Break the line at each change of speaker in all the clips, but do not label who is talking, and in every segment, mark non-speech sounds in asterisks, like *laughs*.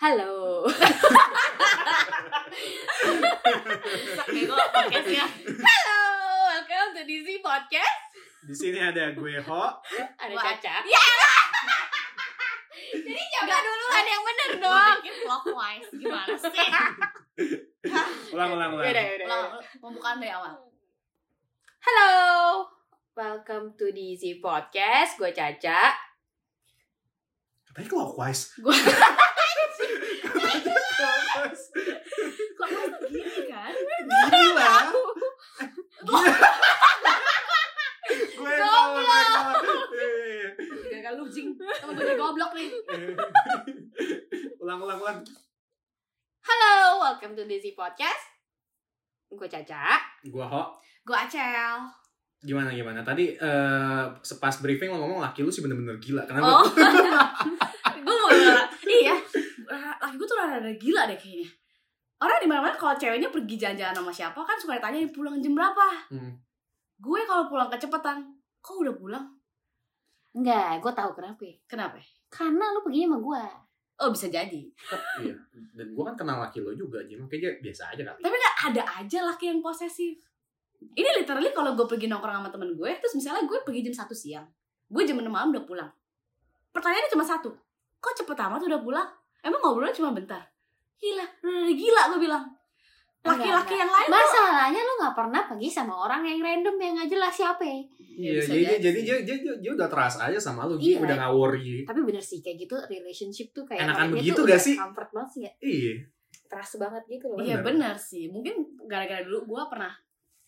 Halo.
Bego ya. podcastnya.
Halo, welcome to DC Podcast.
Di sini ada gue Ho.
Ada
Wah.
*laughs* Caca. Ya. Jadi coba
Nggak.
duluan yang bener
Lo
dong.
bikin clockwise gimana sih?
Ulang ulang ulang.
Yaudah, yaudah,
Lo
yaudah.
pembukaan dari awal.
Halo. Welcome to DC Podcast. Gue Caca.
Katanya clockwise.
Gue
*laughs* Katanya clockwise.
Clockwise tuh gini kan?
Gila. Gila. Gue yang salah, gue yang salah. Iya, iya,
Gagal lu jing. Temen gue jadi goblok nih.
iya. Eh. Ulang ulang ulang.
Halo, welcome to DC Podcast. Gue Caca.
Gue Ho.
Gue acel.
Gimana gimana? Tadi eh, sepas briefing lo ngomong laki lu sih bener-bener gila.
Oh.
Kenapa?
*laughs* gue mau bilang, iya. Laki gue tuh rada-rada gila deh kayaknya. Orang di mana-mana kalau ceweknya pergi jalan-jalan sama siapa kan suka ditanya pulang jam berapa.
Hmm.
Gue kalau pulang kecepatan, kok udah pulang?
Enggak, gue tahu kenapa. ya.
Kenapa?
Karena lu perginya sama gue.
Oh bisa jadi.
Iya. Dan gue kan kenal laki lo juga, jadi makanya biasa aja kan? kali.
Tapi nggak ada aja laki yang posesif. Ini literally kalau gue pergi nongkrong sama temen gue, terus misalnya gue pergi jam 1 siang, gue jam 6 malam udah pulang. Pertanyaannya cuma satu, kok cepet amat udah pulang? Emang ngobrolnya cuma bentar? Gila, udah gila gue bilang. Laki-laki yang lain tuh-
Masalahnya lu nggak pernah pergi sama orang yang random yang nggak jelas siapa ya.
Iya,
bisa
jadi,
jadi
jadi dia, dia, dia, dia udah trust aja sama lu,
Iya.
dia udah nggak worry.
Tapi bener sih kayak gitu relationship tuh kayak
Enakan
orangnya
begitu
tuh
gak
udah
sih?
Comfort banget sih ya.
Iya.
Trust banget gitu loh.
Iya
Bener.
bener sih, mungkin gara-gara dulu gue pernah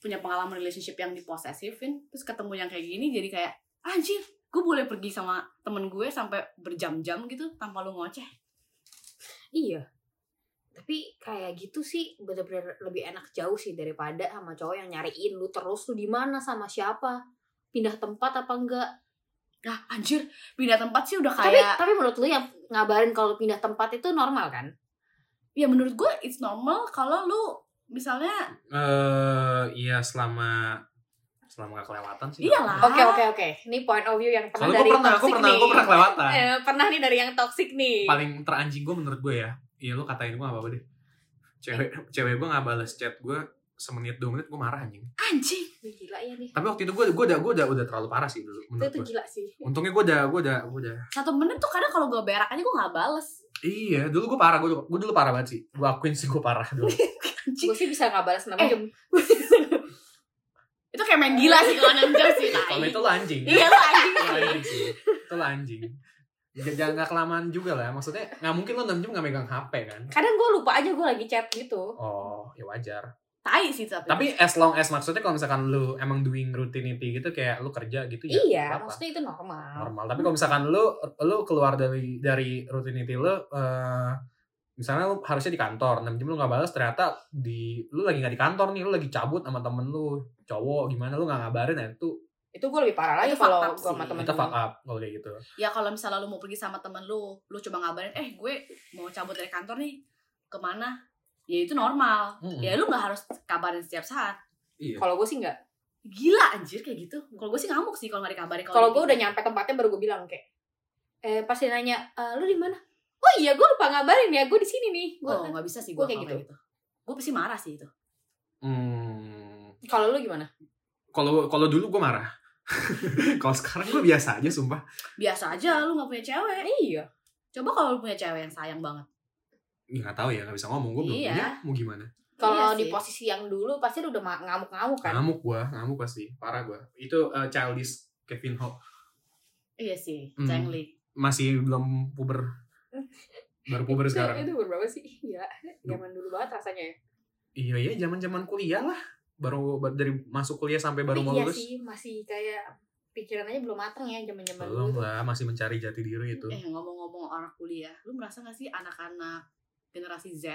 punya pengalaman relationship yang diposesifin Terus ketemu yang kayak gini jadi kayak, anjir gue boleh pergi sama temen gue sampai berjam-jam gitu tanpa lu ngoceh
Iya. Tapi kayak gitu sih bener-bener lebih enak jauh sih daripada sama cowok yang nyariin lu terus lu di mana sama siapa pindah tempat apa enggak
Ah anjir pindah tempat sih udah
tapi
kayak
tapi menurut lu yang ngabarin kalau pindah tempat itu normal kan
ya menurut gue it's normal kalau lu misalnya
eh iya selama selama gak kelewatan sih.
iyalah
oke oke oke ini point of view yang pernah
Soalnya gue
dari
pernah, gue
toxic
pernah,
nih
gue pernah
*laughs*
kelewatan.
Eh, pernah nih dari yang toxic nih
Paling teranjing gue menurut gue ya. Iya lu katain gue gak apa-apa deh. Cewek cewek gue gak balas chat gue semenit dua menit gue marah anjing.
anjing
Ih, gila ya nih
Tapi waktu itu gue gue udah gue udah udah terlalu parah sih dulu
itu,
menurut
itu
gue.
gila sih
Untungnya gue udah gue udah gue udah.
satu menit tuh kadang kalau gue berak aja gue nggak bales
Iya dulu gue parah gue gue dulu parah banget sih. Gue akuin sih gue parah
*laughs*
dulu.
gue sih bisa nggak balas nama
Eh, itu kayak main gila sih kalau enam jam sih
Kalau
tai.
itu lo anjing.
iya lu anjing
Itu lo anjing sih. Itu lo anjing. Jangan jangan nggak kelamaan juga lah. ya. Maksudnya nggak mungkin lo 6 jam nggak megang HP kan?
kadang gue lupa aja gue lagi chat gitu
Oh, ya wajar.
tai sih
Iya.
tapi,
Tapi as long as maksudnya kalau misalkan lu emang doing routinity gitu kayak lu kerja gitu ya.
iya
nggak apa-apa.
maksudnya itu normal
normal. Tapi kalau misalkan lu lu keluar dari dari routinity lu eh, misalnya lu harusnya di kantor, 6 jam lu nggak balas ternyata di lu lagi nggak di kantor nih, lu lagi cabut sama temen lu cowok gimana lu nggak ngabarin nah itu
itu gue lebih parah lagi
Itu fuck
kalau
up
gue sama
sih.
temen
kita fuck up kalau kayak gitu.
ya kalau misalnya lu mau pergi sama temen lu lu coba ngabarin eh gue mau cabut dari kantor nih kemana ya itu normal
Mm-mm.
ya lu nggak harus kabarin setiap saat
Iya.
kalau gue sih enggak
gila anjir kayak gitu kalau gue sih ngamuk sih kalau nggak dikabarin
kalau gue
gitu.
udah nyampe tempatnya baru gue bilang kayak eh pasti nanya "Eh, lu di mana oh iya gue lupa ngabarin ya gue di sini nih gue
oh nggak bisa sih
Gua
gue
kayak
kayak gitu, gue pasti marah sih itu
Hmm.
kalau lu gimana
Kalau kalau dulu gue marah. *laughs* kalau sekarang gue biasa aja sumpah.
biasa aja lu nggak punya cewek
iya
coba kalau lu punya cewek yang sayang banget
Ya, nggak tahu ya, nggak bisa ngomong gue belum
Iya.
punya, mau gimana?
kalau
Iya
di
sih.
posisi yang dulu pasti lu udah ma- ngamuk-ngamuk kan
Ngamuk gua, ngamuk pasti, parah gua. Itu eh, childish Kevin Ho
iya sih
Hmm.
cengli
masih belum
*laughs*
puber. Baru puber
itu,
sekarang.
itu berapa sih gila zaman dulu banget rasanya ya
Iya iya, zaman-zaman kuliah lah. Baru baru dari masuk kuliah sampai baru
Tapi
mau
iya
lulus.
sih masih kayak pikirannya belum matang ya zaman-zaman dulu
Belum lah, masih mencari jati diri itu.
eh ngomong-ngomong orang kuliah lu merasa gak sih anak-anak generasi Z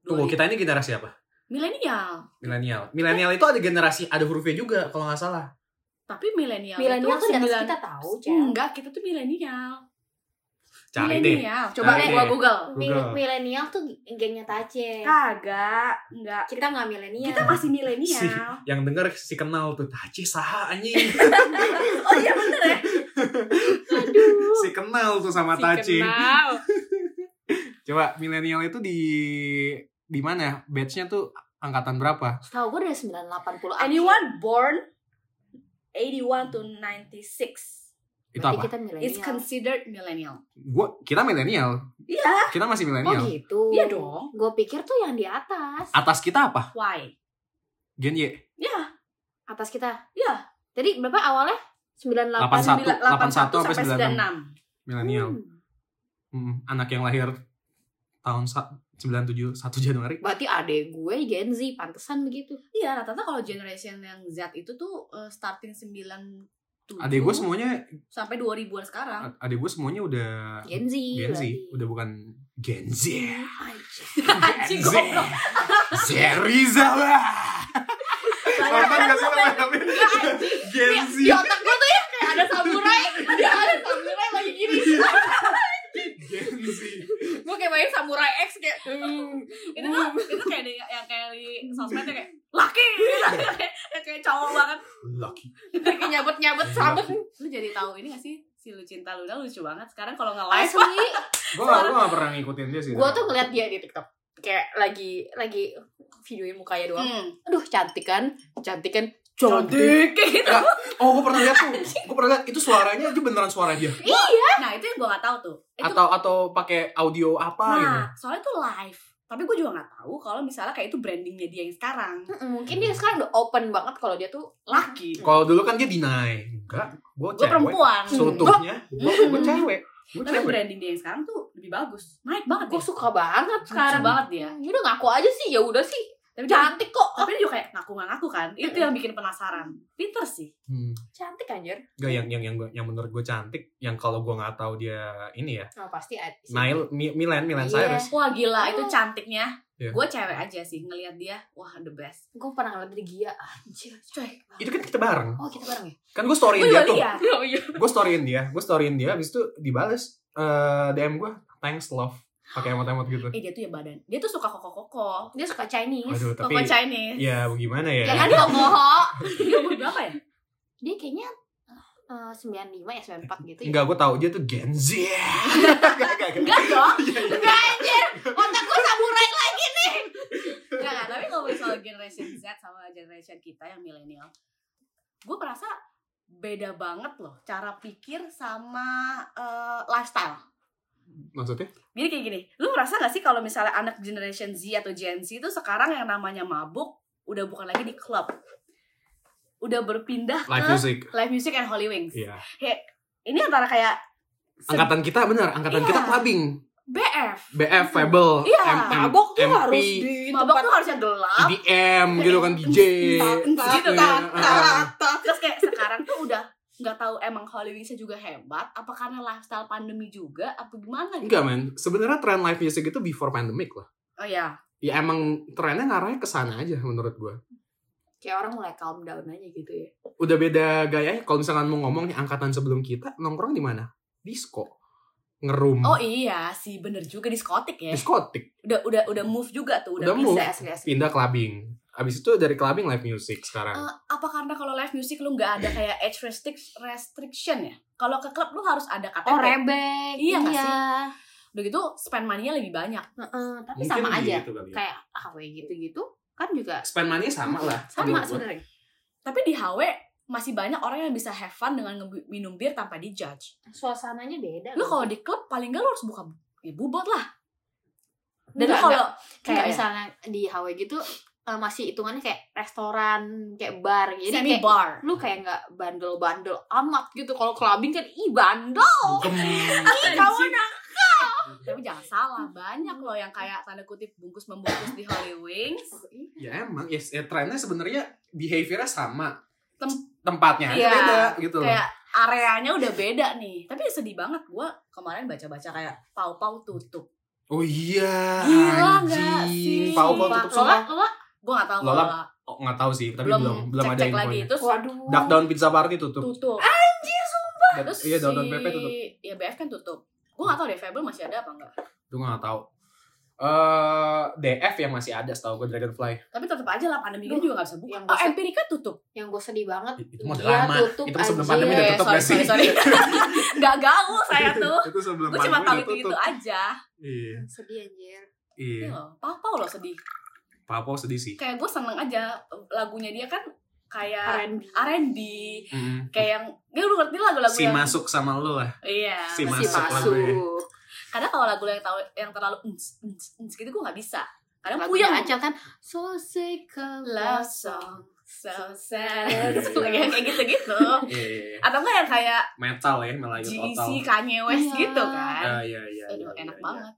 Tunggu,
Doi-
kita ini generasi apa?
milenial
Milenial. Milenial itu ada generasi, ada hurufnya juga kalau nggak salah.
tapi milenial
milenial
itu
tuh di atas
sembilan-
kan kita tahu Cel.
enggak kita tuh milenial
Iya,
Cari deh.
milenial coba
Cari
deh gua
deh.
google
Mi-
Google.
milenial tuh gengnya tace
kagak enggak
kita kan nggak milenial
kita masih
Si,
milenial
yang denger si kenal tuh, Taci saha anjing.
*laughs* oh iya bener ya
si kenal tuh
Si
sama Taci.
kenal.
Coba milenial itu di di mana ya? Batch-nya tuh angkatan berapa?
Setahu gue dari 980 akhir.
Anyone born 81 to 96
Berarti
Itu apa?
kita
is
milenial.
considered millennial.
Gua kita milenial.
Iya.
Kita masih
Oh
milenial.
gitu.
Iya dong.
Gue pikir tuh yang di atas.
Atas kita apa?
Why?
Gen Y.
Atas kita.
Iya.
Jadi berapa awalnya? 98.
81
Sembilan-
81 sampai
96.
Milenial.
Hmm.
Hmm, anak yang lahir tahun sa- 97 1 Januari.
Berarti adek gue Gen Z pantesan begitu.
Iya, rata-rata kalau generation yang Z itu tuh eh, starting 9
Adik
Hmm.
gue semuanya
sampai 2000-an sekarang.
adik gue semuanya udah
Gen Z.
Gen Z,
berarti.
udah bukan Gen Z.
Anjir.
Anjing
Z.
goblok.
Zeriza lah.
Banyak
Nonton
banget
gak sih
banyak.
tapi
Enggak, anjing.
Gen
Di-
Z.
Di
Iya.
otak gue tuh ya kayak ada
*laughs*
samurai, ada ada samurai lagi gini.
Gen Z.
gue kayak main samurai X kayak mm, itu tuh itu kayak di, yang kayak di sosmednya kayak laki kayak, kayak cowok banget
Lucky.
kayak nyabut
Iya.
nyabut sabut lu jadi tahu ini gak sih si Lucinta Luna lucu banget sekarang kalau nge live
Asli.
Gue gak, gua gak pernah ngikutin dia sih.
gue tuh ngeliat dia di TikTok kayak lagi lagi videoin mukanya doang.
hmm,
Aduh cantik kan, cantik kan, cantik.
Cantik kayak gitu.
Oh, gue pernah lihat tuh. Gue pernah lihat itu suaranya itu beneran suara dia.
Nah itu yang gue gak tahu tuh. Itu
Atau atau pakai audio apa gitu.
nah soalnya itu live. Tapi gue juga gak tahu kalau misalnya kayak itu brandingnya dia yang sekarang.
Mm-mm, Mungkin dia sekarang udah open banget kalau dia tuh
Laki.
Kalau dulu kan dia deny. Enggak, gue
Gue
cewek.
perempuan.
Seutuhnya, gue gue
Hmm.
cewek. Gue
Tapi
cewek.
branding dia yang sekarang tuh lebih bagus. Naik banget
Iya.
gue
ya.
suka banget
Sekarang
sekarang.
banget dia.
Ya udah ngaku aja sih, ya udah sih.
Tapi dia
Cantik kok.
tapi dia juga kayak ngaku nggak ngaku kan itu yang bikin penasaran pinter sih
Hmm.
Cantik anjir.
Enggak yang yang yang gua- yang menurut gue cantik, yang kalau gue nggak tahu dia ini ya.
Oh, pasti ada sih.
Nail, Mi- Milan, Milan
Iya.
Cyrus.
wah gila
Oh.
itu cantiknya
Iya.
gue cewek aja sih ngelihat dia wah the best
Gue pernah ngeliat dia Gia, anjir.
cuy
Itu kan kita bareng.
Oh, kita
*laughs*
bareng ya?
Kan gue storyin
gue
dia
juga
tuh.
lihat
Oh iya.
Gue storyin dia, gue storyin dia. Habis itu dibales eh, DM gue, thanks love. Pakai emot-emot gitu.
eh dia tuh ya badan dia tuh suka koko koko
Dia suka Chinese.
Waduh,
koko
tapi
Chinese
ya gimana ya?
kan?
Jangan
*laughs*
kok bohong.
dia umur berapa *laughs* ya
Dia kayaknya eh, 95 ya, 94 gitu ya.
Enggak, gue tahu dia tuh Gen Z. *laughs* Enggak, enggak, enggak.
Iya. enggak dong
*laughs* Iya, iya.
Enggak anjir. Otak gue samurai lagi.
enggak enggak tapi ngomongin soal generation Z sama generation kita yang milenial gue merasa beda banget loh cara pikir sama eh, lifestyle
Maksudnya?
Jadi kayak gini, lu merasa gak sih kalau misalnya anak generation Z atau Gen Z itu sekarang yang namanya mabuk udah bukan lagi di klub. Udah berpindah
Live
ke
music.
live music and Holy Wings.
Iya.
Ini antara kayak se-
Angkatan kita bener, angkatan
Iya.
kita clubbing.
BF.
BF, Fable,
Iya,
M- M-
Mabok tuh
MP,
harus di
Mabuk tuh harusnya gelap.
EDM gitu kan Iya, DJ.
Gitu kan.
Heeh.
Terus kayak sekarang tuh udah nggak tahu emang Holy Wingsnya juga hebat apa karena lifestyle pandemi juga apa gimana gitu.
Enggak men, sebenarnya tren live music itu before pandemic lah.
Oh ya.
Ya emang trennya ngarahnya ke sana aja menurut gua.
Kayak orang mulai calm down aja gitu ya.
Udah beda gayanya kalau misalkan mau ngomong nih angkatan sebelum kita nongkrong di mana? Disco. Ngerum.
Oh iya sih bener juga diskotik ya.
Diskotik.
Udah udah udah move juga tuh, udah,
Udah move.
bisa
Iya.
Asli asli.
Pindah clubbing. Abis itu dari clubbing live music sekarang.
Eh, apa karena kalau live music lu nggak ada kayak age restric- restriction ya? Kalau ke klub lu harus ada KTP.
Oh rebek.
Iya nggak
iya.
sih? Udah gitu spend money-nya lebih banyak.
Heeh, tapi
Mungkin
sama aja.
gitu kali ya.
Kayak HW gitu-gitu kan juga
Spend money sama lah.
sama
Menurut gua.
sebenarnya.
Tapi di HW masih banyak orang yang bisa have fun dengan nge- minum bir tanpa dijudge.
Suasananya beda.
Lu kalau di klub paling nggak lu harus buka ya bubot lah. Dan
dan
lu kalau
kayak
Enggak ya?
misalnya di HW gitu eh, masih hitungannya kayak restoran, kayak bar gitu.
semi
Jadi kayak
bar.
lu kayak nggak bandel-bandel amat gitu kalau clubbing kan i bandel
Gem.
ih, kamu nak
Tapi jangan salah, banyak loh yang kayak tanda kutip bungkus membungkus di Holy Wings.
Ya emang, yes, ya trennya sebenarnya behaviornya sama.
Tem-
Tempatnya aja
Iya,
beda gitu loh.
kayak areanya udah beda nih. Tapi ya sedih banget gua kemarin baca-baca kayak pau-pau tutup.
Oh iya.
Gila nggak sih?
Pau pau tutup
lola
semua.
lola
gue gak tahu
Lola,
kalau
Oh, nggak tahu sih, tapi
belum
belum belum,
cek
ada
cek lagi
infonya.
terus
waduh
Duck Down Pizza Party tutup.
tutup Ah,
Dan-
terus
iya,
si
Duck Down PP tutup.
ya BF kan tutup gue gak tahu deh Fable masih ada apa enggak
Itu gue nggak tahu. eh DF yang masih ada setahu gue Dragonfly.
Tapi tetap aja lah pandemi
Duh,
ini juga gak bisa buka.
yang
Oh,
bisa-
Empirika tutup.
Yang gue sedih banget.
Itu mah
Dia
drama.
tutup
Itu mah sebelum
aja.
pandemi udah
Iya,
tutup
sorry,
gak sih?
sorry, sorry. *laughs* Gak gaul saya tuh.
itu sebelum
Gue cuma
pandemi
tahu
udah
itu-itu
tutup.
aja.
Iya.
Sedih anjir.
Iya.
Iya loh, Papa loh sedih.
Papo sedih sih.
Kayak gue seneng aja lagunya dia kan kayak
R&B.
R&B
Mm.
kayak yang dia lu ngerti lagu-lagu
Si
yang
masuk sama lu lah.
iya
Si
Masih
masuk ya.
masuk.
lagunya.
kadang kalau lagu yang tahu yang terlalu ens, ens, ens gitu gue nggak bisa kadang
Lagunya
puyeng
Aca kan. So sick of love song.
so *laughs* sad Lagi yang kayak gitu gitu
Iya, iya, iya.
atau enggak yang kayak
Metal ya, Melayu total.
GC Kanye West
Iya.
gitu E kan
Ah, Iya, iya, iya.
aduh
iya,
enak
iya.
banget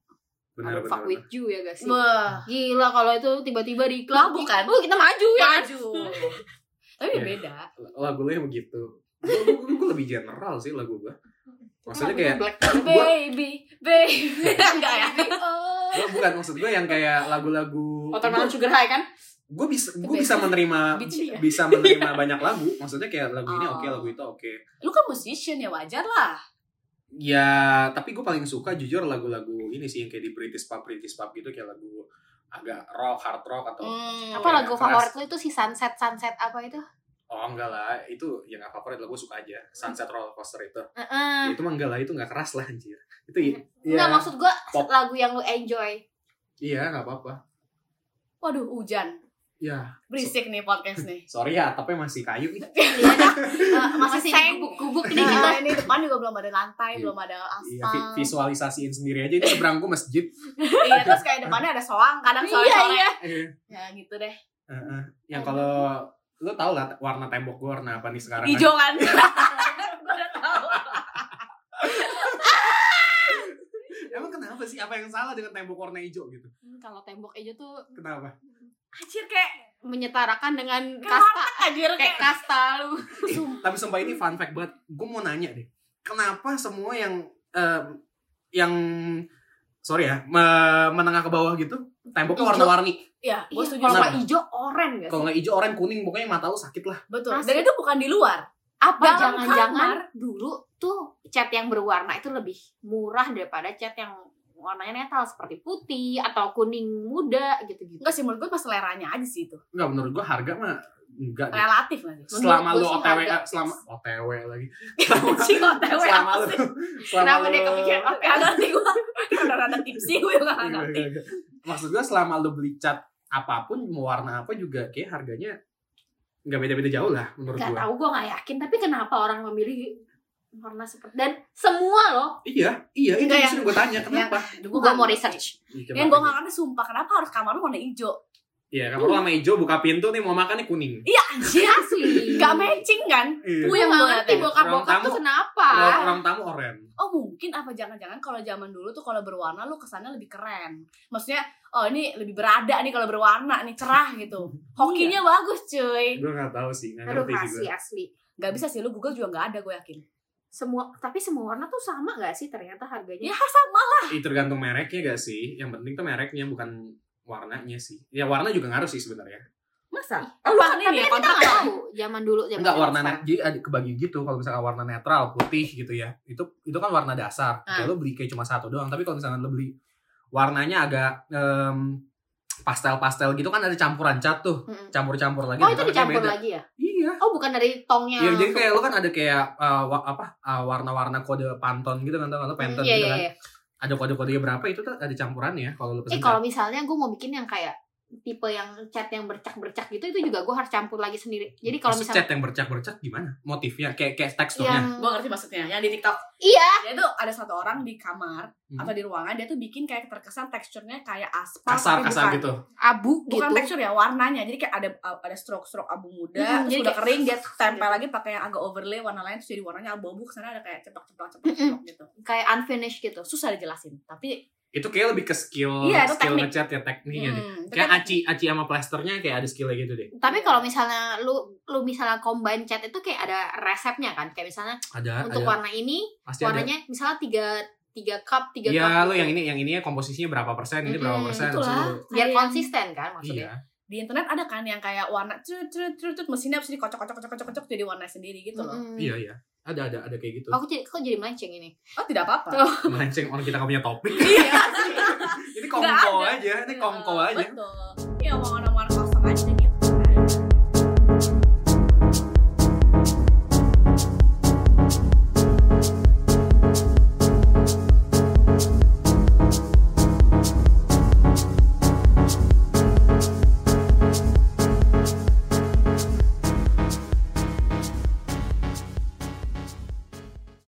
Benar,
Ada
benar,
fuck
benar.
with you ya gak sih?
Wah,
Gila kalau itu tiba-tiba di iklan.
Mabuk kan?
Oh kita maju ya kan?
maju *laughs* tapi
Iya.
beda
lagu lu yang begitu gue gue lebih general sih lagu gue maksudnya kayak
Black
baby baby *laughs* enggak ya
gue bukan maksud gue yang kayak lagu-lagu
Watermelon Sugar High kan?
gue bisa gue bisa menerima
Beach ya?
bisa menerima banyak lagu maksudnya kayak lagu ini
Oh.
oke lagu itu oke
lu kan musician ya wajar lah
ya tapi gue paling suka jujur lagu-lagu ini sih yang kayak di British pop British pop gitu kayak lagu agak rock hard rock atau
Hmm.
Apa
Iya,
lagu
keras.
favorit lu itu si Sunset Sunset apa itu?
oh enggak lah itu yang gak favorit lah gue suka aja
Hmm.
Sunset Roller Coaster itu Ya,
Heeh.
itu mah enggak lah itu nggak keras lah anjir itu i-
Enggak
iya
maksud gua
Pop.
lagu yang lu
*laughs*
enjoy.
iya nggak apa-apa
waduh hujan
ya
berisik nih podcast nih
sorry ya tapi masih kayu nih
Iya dah. Eh,
Masih
masih
seng.
gubuk-gubuk nih kita.
Nah, *laughs* ini depan juga belum ada lantai,
Iya.
belum ada
Iya, vi-
aspal.
visualisasiin sendiri aja itu seberangku masjid.
Iya, terus kayak depannya ada soang, kadang sore-sore.
Iya, iya.
Heeh.
Ya gitu deh.
Yang kalau lu tau lah warna tembok gua warna apa nih sekarang?
Ijo *laughs* kan. Gua udah tahu.
Kan? Emang kenapa sih? Apa yang salah dengan tembok warna hijau gitu?
Hmm, Kalau tembok hijau tuh
Kenapa?
Anjir kayak
menyetarakan dengan
kayak
kasta
warteg anjir
kayak
kayak
kasta lu.
Tapi sumpah ini fun fact banget. Gua mau nanya deh. Kenapa semua yang em, yang sorry ya, me- menengah ke bawah gitu, temboknya
Hijau.
warna-warni.
ya, gue
Iya,
setuju
kalau
Kenapa?
nggak hijau orange gak sih?
Kalau nggak hijau, oranye, kuning, pokoknya mata lu sakit lah.
Betul.
Asli.
Dan itu bukan di luar.
Apa
Dalam
jangan-jangan
kamar.
dulu tuh cat yang berwarna itu lebih murah daripada cat yang warnanya netral seperti putih atau kuning muda gitu-gitu.
Enggak sih menurut gue pas seleranya aja sih itu.
Enggak menurut gua harga mah enggak deh.
Relatif lah sih.
Menurut
Selama lu
gua sih
OTW,
harga-
eh, selama OTW lagi.
Si
*laughs*
OTW
selama
apa
lu
sih?
selama
Kenapa dia kepikiran
Apa yang ngerti gue? Udah rada tipsi gue juga gak ngerti.
Iya, maksud gue selama lu beli cat apapun mau warna apa juga kayak harganya nggak beda-beda jauh lah menurut
Gak
gue
tahu gue gak yakin tapi kenapa orang memilih warna seperti dan semua loh
iya iya
Nggak
itu
ya? yang-
justru gue tanya kenapa
Aduh,
gue
nggak
mau
ngerti.
research
Iya,
Yang gue gak ngerti sumpah kenapa harus kamar lu warna hijau?
iya kamu lu sama hijau buka pintu nih mau makan nih kuning
Iya anjir.
asli
Gak matching kan?
iya.
gue yang gak
Gua nggak
ngerti
ngerti.
bokap-bokap
Ruang
tuh
tamu.
kenapa
Ruang, ruang tamu oren
Oh mungkin apa jangan-jangan kalau zaman dulu tuh kalau berwarna lu kesannya lebih keren. Maksudnya oh ini lebih berada nih kalau berwarna nih cerah gitu.
Iya.
Hokinya bagus cuy.
gue nggak tahu sih nggak
aduh asli
ngerti sih gue
asli
Gak bisa sih lu Google juga gak ada gue yakin.
semua tapi semua warna tuh sama gak sih ternyata harganya
Ya sama lah.
itu tergantung mereknya gak sih yang penting tuh mereknya bukan warnanya sih ya warna juga ngaruh sih sebenarnya
Masa?
Oh,
Oh, bukan
tapi
ini ya
kan kita
kontrak
gak tahu zaman dulu zaman
Enggak
dulu
warna
sekarang.
net- jadi ada kebagi gitu kalau misalkan warna netral putih gitu ya. Itu itu kan warna dasar.
Ah.
Ya lo beli kayak cuma satu doang, tapi kalau misalkan lo beli warnanya agak em, pastel-pastel gitu kan ada campuran cat tuh.
Mm-mm.
Campur-campur lagi.
oh
nanti
itu
warnanya
dicampur
beda.
lagi ya
Iya.
oh bukan dari tongnya
Iya, jadi kayak lo kan ada kayak eh, wa- apa eh, warna-warna kode Pantone gitu kan tau nggak lo Pantone
iya,
gitu
iya,
kan.
iya.
Ada kode-kodenya berapa itu tuh ada campurannya ya, kalau lo
eh
pesen.
kalau misalnya gue mau bikin yang kayak tipe yang cat yang bercak-bercak gitu itu juga gue harus campur lagi sendiri jadi kalau Iya,
Maksud
misalnya
cat yang bercak-bercak gimana? Motifnya kayak kayak teksturnya.
yang
Gue ngerti maksudnya yang di TikTok.
iya
Dia tuh ada satu orang di kamar
Hmm.
atau di ruangan dia tuh bikin kayak terkesan teksturnya kayak aspal. tapi
Kasar-kasar
bukan.
gitu.
abu
Bukan
gitu
tekstur ya warnanya. Jadi kayak ada ada stroke-stroke abu muda,
Hmm,
terus
jadi kayak-
udah
gitu.
kering dia tempel lagi pakai yang agak overlay warna lain terus jadi warnanya abu-abu kesana ada kayak
Hmm,
ceplok-ceplok-ceplok gitu.
kayak unfinished gitu
susah dijelasin tapi
itu kayak lebih ke skill
Iya, itu
skill
teknik.
ngecat ya tekniknya deh.
hmm, itu
kayak
kan-
aci aci sama plasternya kayak ada skillnya gitu deh
tapi
Iya.
kalau misalnya lu lu misalnya combine cat itu kayak ada resepnya kan kayak misalnya
ada
untuk
Ah, ada
warna ini
pasti ada
warnanya misalnya tiga tiga cup tiga
Iya,
cup gitu.
lo yang ini yang ininya komposisinya berapa persen ini
Mm-mm,
berapa persen
itulah.
terus lu-
biar
kan gitu Kayak-
konsisten kan maksudnya
iya
di internet ada kan yang kayak warna cut cut cut cut mesinnya habis dikocok kocok kocok kocok kocok jadi warna sendiri gitu loh
Mm-mm.
iya iya ada ada ada kayak gitu
Oh. aku jadi kok jadi melenceng ini
oh tidak apa apa
Tuh.
melenceng orang kita nggak punya topik
iya
*laughs* ini ini
Nggak
kongko
ada.
aja ini kongko aja
Betul. Ini omongan